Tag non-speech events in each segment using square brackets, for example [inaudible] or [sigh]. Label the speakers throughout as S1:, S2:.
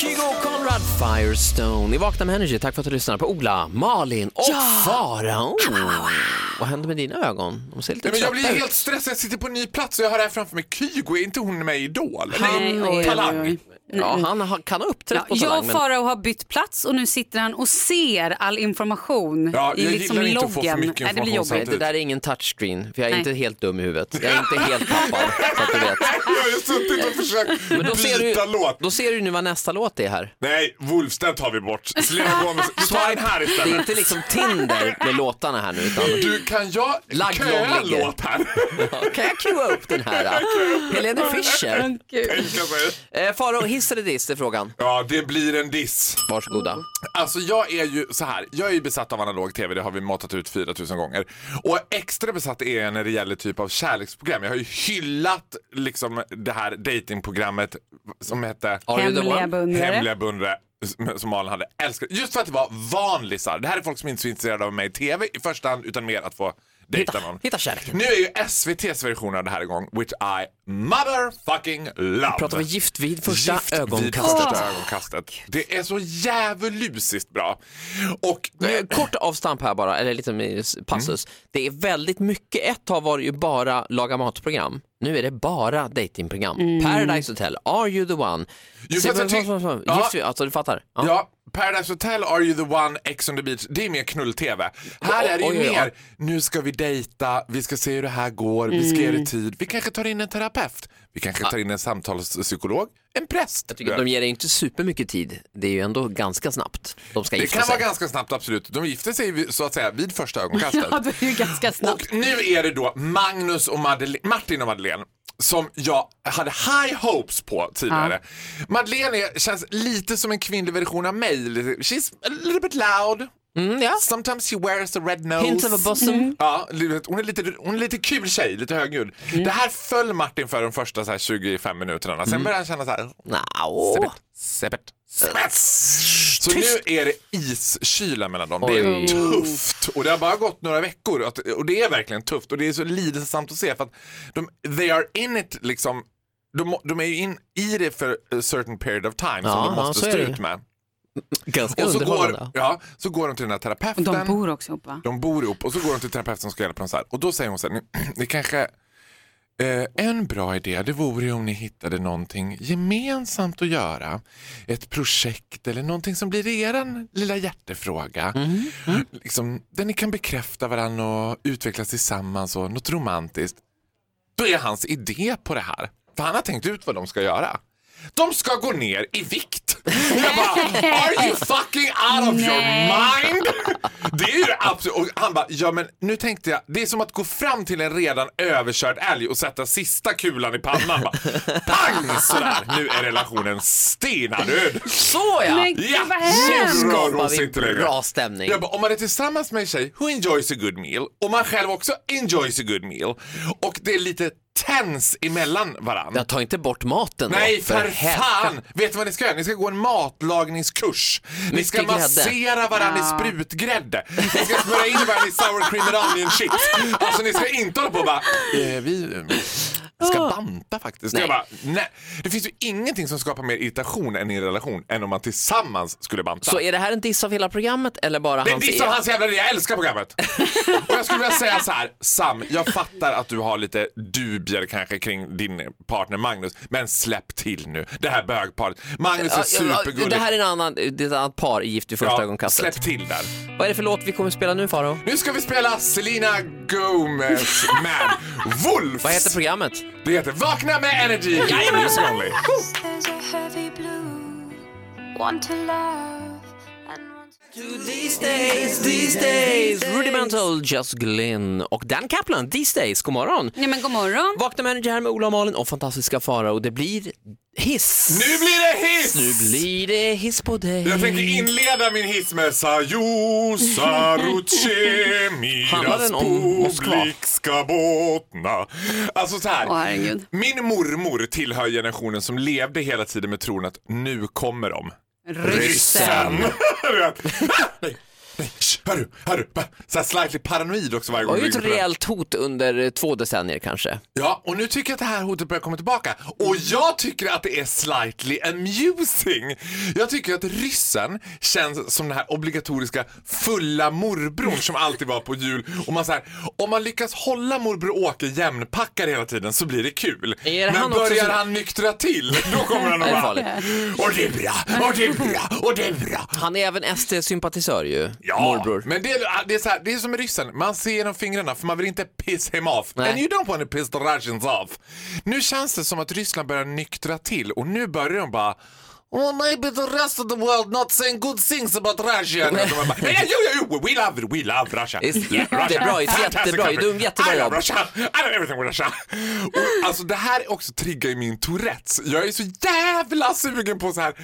S1: Kygo, Conrad Firestone. I Vakna med Energy, tack för att du lyssnar på Ola, Malin och Farao. Vad händer med dina ögon? De ser lite
S2: Nej, men jag blir
S1: trötta ut.
S2: helt stressad, jag sitter på en ny plats och jag har det här framför mig. Kygo, är inte hon med i Idol?
S3: Nej, oj, oj, oj.
S2: Talang.
S1: Ja, Mm. han har- kan ha uppträtt
S3: Ja,
S1: på
S3: jag
S1: Talang,
S3: och
S1: men-
S3: Farao har bytt plats och nu sitter han och ser all information
S2: Ja,
S3: i
S2: jag
S3: liksom
S2: gillar inte
S3: loggen.
S2: att få för mycket
S3: Nej, det blir
S2: information
S1: Nej,
S3: jobbigt.
S1: det
S2: samtidigt.
S1: där är ingen touchscreen, för jag är
S3: Nej.
S1: inte helt dum i huvudet. Jag är inte helt tappad, så att du vet.
S2: [laughs] Jag har ju suttit och försökt
S1: Men då ser,
S2: byta
S1: du,
S2: låt.
S1: då ser du nu vad nästa låt är här.
S2: Nej, Wolfstedt tar vi bort. Selena Gomez. Vi tar den här
S1: Det är
S2: istället.
S1: inte liksom Tinder med låtarna här nu, utan
S2: Du, kan jag
S1: Lagg
S2: köa
S1: lång ligger.
S2: låt här? [laughs]
S1: kan jag cuea upp den här? då? Helene Fischer.
S2: Tänk alltså.
S1: Eh, Farao, hiss eller diss är frågan.
S2: Ja, det blir en diss.
S1: Varsågoda.
S2: Alltså jag är ju så här, jag är ju besatt av analog tv, det har vi matat ut 4000 gånger. Och extra besatt är jag när det gäller typ av kärleksprogram. Jag har ju hyllat liksom det här datingprogrammet som hette
S1: Are you the
S3: Hemliga
S1: one?
S3: beundrare.
S2: Hemliga beundrare som- som Malin hade älskat. Just för att det var vanlisar. Det här är folk som inte är så intresserade av mig i tv i första hand utan mer att få dejta någon.
S1: hitta kärleken.
S2: Nu är ju SVTs version av det här igång, which I motherfucking love.
S1: Pratar vi gift vid första
S2: Gift vid
S1: ögonkastet.
S2: första ögonkastet. Det är så djävulusiskt bra. Och
S1: Nu, Eh, kort avstamp här bara, eller lite mer passus.
S2: Mm.
S1: Det är väldigt mycket, ett tag var det ju bara laga matprogram. Nu är det bara datingprogram. Paradise Hotel, Are you the one?
S2: Jo,
S1: Se,
S2: fast jag
S1: vad-
S2: tyck-
S1: vad- vad-
S2: Ja.
S1: Gift vid, alltså du fattar. Ja.
S2: Ja, Paradise Hotel, Are You The One, Ex on the Beach, det är mer knull-tv. Här är det ju
S1: Oj, oj, oj.
S2: mer, nu ska vi dejta, vi ska se hur det här går, vi ska ge
S1: Mm.
S2: det tid, vi kanske tar in en terapeut, vi kanske tar in en samtalspsykolog, en präst.
S1: Ah. Jag tycker att de ger dig inte supermycket tid. Det är ju ändå ganska snabbt de ska
S2: det
S1: gifta
S2: kan
S1: sig.
S2: vara ganska snabbt, absolut. De gifte sig vid- så att säga
S1: [laughs]
S2: vid första ögonkastet.
S3: [laughs] Ja, det är ju ganska snabbt.
S2: Och nu är det då Magnus och Madele- Martin och Madeleine som jag hade high hopes på tidigare. Madeleine är- känns lite som en kvinnlig version av mig. Lite- She's a little bit loud.
S1: Mm, ja.
S2: Sometimes she wears a red nose. Mm.
S1: Hint of a bosom.
S2: Ja, du vet, hon är, lite, hon är lite kul tjej, lite högljudd.
S1: Mm.
S2: Det här föll Martin för de första så här, 25 minuterna. Sen började han känna så här...
S1: Nja.
S2: Seppert, seppert, seppert. Så nu är det iskyla mellan dem. Det
S1: Oj.
S2: är tufft. Och det har bara gått några veckor. Att- Och det är verkligen tufft. Och det är så lidelsesamt att se. För att de, they are in it liksom. De, må- de är ju in i det för a certain period of time
S1: Ja,
S2: som de måste
S1: så är
S2: stå
S1: det ju.
S2: ut med.
S1: Ganska
S2: Och så går,
S1: underhållande.
S2: ja, så går de till den här
S3: Och
S2: terapeuten.
S3: de bor också ihop va?
S2: De bor ihop och så går de till terapeuten som ska hjälpa dem så här. Och då säger hon så här, ni, [clears throat] ni kanske, eh, en bra idé det vore ju om ni hittade någonting gemensamt att göra. Ett projekt eller någonting som blir er lilla hjärtefråga. Liksom, där ni kan bekräfta varandra och utvecklas tillsammans och något romantiskt. Då är hans idé på det här. För han har tänkt ut vad de ska göra. De ska gå ner i vikt. Jag bara, are you fucking out of your
S3: Nej.
S2: mind? Det är ju det absolut. Och han bara, ja men nu tänkte jag, det är som att gå fram till en redan överkörd älg och sätta sista kulan i pannan. Bara, pang sådär, nu är relationen stenadöd.
S1: Såja!
S3: Men
S2: Ja,
S3: gud vad
S2: nu
S3: hemskt!
S2: rör vi
S1: skapar
S2: oss inte
S1: vi
S2: längre.
S1: bra stämning.
S2: Jag bara, om man är tillsammans med en tjej who enjoys a good meal och man själv också enjoys a good meal och det är lite tens emellan varandra.
S1: Jag tar inte bort maten då,
S2: Nej, för
S1: helvete.
S2: fan! Vet du vad ni ska göra? Ni ska gå en matlagningskurs. Ni ska
S1: Mycket grädde.
S2: massera varandra i sprutgrädde. Ni ska smörja in varandra i sour cream and onion chips. Alltså ni ska inte hålla på och bara, eh, vi eh, ska banta faktiskt.
S1: Nej.
S2: Jag bara, nej. Det finns ju ingenting som skapar mer irritation än i en relation än om man tillsammans skulle banta.
S1: Så är det här en diss av hela programmet eller bara
S2: Det är
S1: hans
S2: diss av
S1: e-
S2: hans jävla idé. jag älskar programmet. Och jag skulle vilja säga så här, Sam, jag fattar att du har lite dubier kanske kring din partner Magnus, men släpp till nu. Det här bögparet. Magnus är
S1: Ja, ja,
S2: supergullig.
S1: Det här är, en annan, det är ett annat par i Gift i första ögonkastet.
S2: Släpp till där.
S1: Vad är det för låt vi kommer spela nu Faro?
S2: Nu ska vi spela Selena Gomez med Wolfs.
S1: Vad heter programmet?
S2: det heter Vakna med Energy. Music Only.
S4: There's a heavy blue, one to love and one to
S1: Rudimental, Just Glynn och Dan Kaplan, These Days. God morgon!
S3: Nej men god morgon.
S1: Vakna med Energy här med Ola och Malin och fantastiska Faro och det blir hiss.
S2: Nu blir det hiss!
S1: Nu blir det hiss på dig.
S2: Jag tänker inleda min hiss med Sajo
S1: [laughs]
S2: Saruce
S1: Handlar
S2: Miras
S1: den om Moskva?
S2: publik ska bottna Alltså så här.
S3: Åh, herregud.
S2: Min mormor tillhör generationen som levde hela tiden med tron att nu kommer de. [laughs]
S3: Ryssen.
S2: Du vet. Nej, nej, shh, hörru, hörru, ba- så här slightly paranoid också varje
S1: Det var
S2: gång.
S1: ju
S2: du
S1: ett
S2: ringer på den.
S1: reellt hot under eh, två decennier kanske.
S2: Ja, och nu tycker jag att det här hotet börjar komma tillbaka.
S1: Mm.
S2: Och jag tycker att det är slightly amusing. Jag tycker att ryssen känns som den här obligatoriska fulla morbrorn som alltid var på jul. Och man så här, om man lyckas hålla morbror Åke jämnpackad hela tiden så blir det kul.
S1: Är det
S2: Men
S1: han också
S2: börjar
S1: som-
S2: han nyktra till, då kommer
S1: [laughs]
S2: han
S1: Det är
S2: att
S1: farligt.
S2: bara, och det är bra, och det är bra, och det är bra.
S1: Han är även SD-sympatisör ju, morbror.
S2: Men det är, det, är så här, det är som med ryssen, man ser genom fingrarna för man vill inte piss him off.
S1: Nej.
S2: And you don't want to piss the Russians off. Nu känns det som att Ryssland börjar nyktra till och nu börjar de bara Well, maybe the rest of the world not saying good things about Russia. Och de bara, yeah, jo, jo, jo, we love, we love Russia.
S1: It's
S2: Russia,
S1: jättebra, it's
S2: fantastic
S1: jättebra,
S2: country.
S1: du är en jättebra
S2: I
S1: jobb.
S2: love Russia, I love everything with Russia. Och, alltså det här är också triggar i min Tourettes. Jag är så jävla sugen på så här.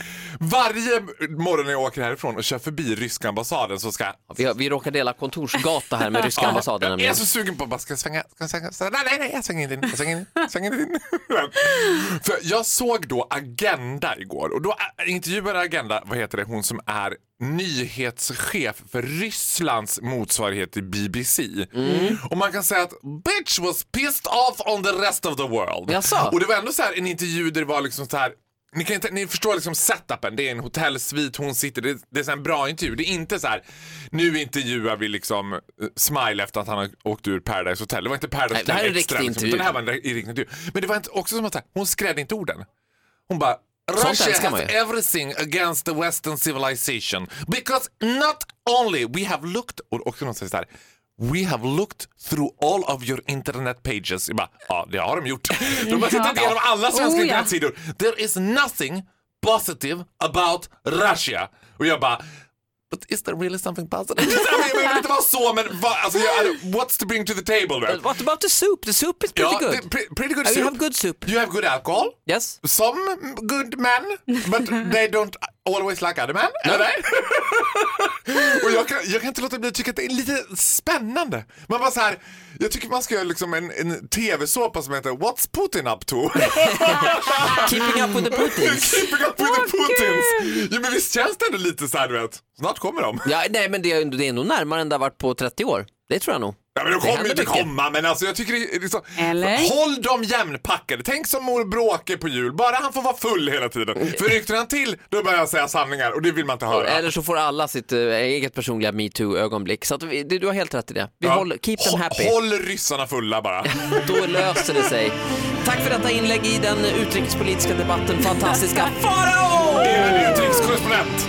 S2: Varje morgon när jag åker härifrån och kör förbi ryska ambassaden så ska jag
S1: Vi, har- vi råkar dela kontorsgata här med ryska
S2: Ja,
S1: ambassaden
S2: Jag är
S1: nämligen.
S2: så sugen på att bara ska jag svänga, ska jag svänga, svänga, nej, nej, nej, jag svänger inte in, jag svänger inte in, jag svänger inte in. [laughs] För jag såg då Agenda igår och då ä, intervjuade Agenda, vad heter det, hon som är nyhetschef för Rysslands motsvarighet till BBC. Och man kan säga att bitch was pissed off on the rest of the world.
S1: Jaså?
S2: Och det var ändå så här en intervju där det var liksom så här ni, kan inte, ni förstår liksom setupen, det är en hotellsvit, hon sitter, det, det är så här en bra intervju. Det är inte så här, nu intervjuar vi liksom eh, Smile efter att han har åkt ur Paradise Hotel. Det var inte Paradise
S1: Nej, det här
S2: Hotel
S1: är en
S2: Extra,
S1: riktig
S2: liksom,
S1: intervju.
S2: utan det här var en ri- riktig intervju. Men det var inte, också som att så här, hon skrädde inte orden. Hon bara, Russia
S1: älskar man
S2: has
S1: ju."
S2: everything against the western civilization because not only we have looked, och också någon säger så här, We have looked through all of your internet pages. Jag bara, ja, det har
S1: [laughs]
S2: de gjort. De har tittat igenom alla svenska
S3: Oh, ja.
S2: internetsidor. There is nothing positive about Russia. Och jag bara, but is there really something
S1: [laughs]
S2: positive? jag vill inte vara så, men vad, alltså, jag, what's to bring to the table? Right?
S1: What about the soup? The soup is pretty
S2: Ja,
S1: good.
S2: det- pre- pretty good
S1: Uh,
S2: soup.
S1: You have good soup.
S2: You have good alcohol.
S1: Yes.
S2: Some good men, but
S1: [laughs]
S2: they don't always like other men. Eller? [laughs] och jag kan, jag kan inte låta bli att tycka att det är lite spännande. Man bara så här, jag tycker man ska göra liksom en, en tv-såpa som heter What's Putin up to?
S1: Keeping up with the Putins.
S2: [laughs] Keeping up with the Putins. Jo men visst känns det ändå lite så här du vet, snart kommer de.
S1: [laughs] Ja, nej, men det är, det är nog närmare än det har varit på 30 år. Det tror jag nog.
S2: Ja, men de kommer ju
S1: händer
S2: inte
S1: mycket.
S2: komma, men alltså jag tycker det är liksom,
S3: Eller?
S2: Håll dem jämnpackade. Tänk som mor Bråke på jul, bara han får vara full hela tiden. För ryckte han till, då börjar han säga sanningar och det vill man inte höra.
S1: Eller så får alla sitt eh, eget personliga metoo-ögonblick. Så att vi, du du har helt rätt i det. Vi
S2: Ja.
S1: håller, keep them
S2: Hå-
S1: happy.
S2: Håll ryssarna fulla bara.
S1: Då löser det sig. Tack för detta inlägg i den utrikespolitiska debatten. Fantastiska
S2: [laughs]
S1: Farao!
S2: Det är en utrikeskorrespondent.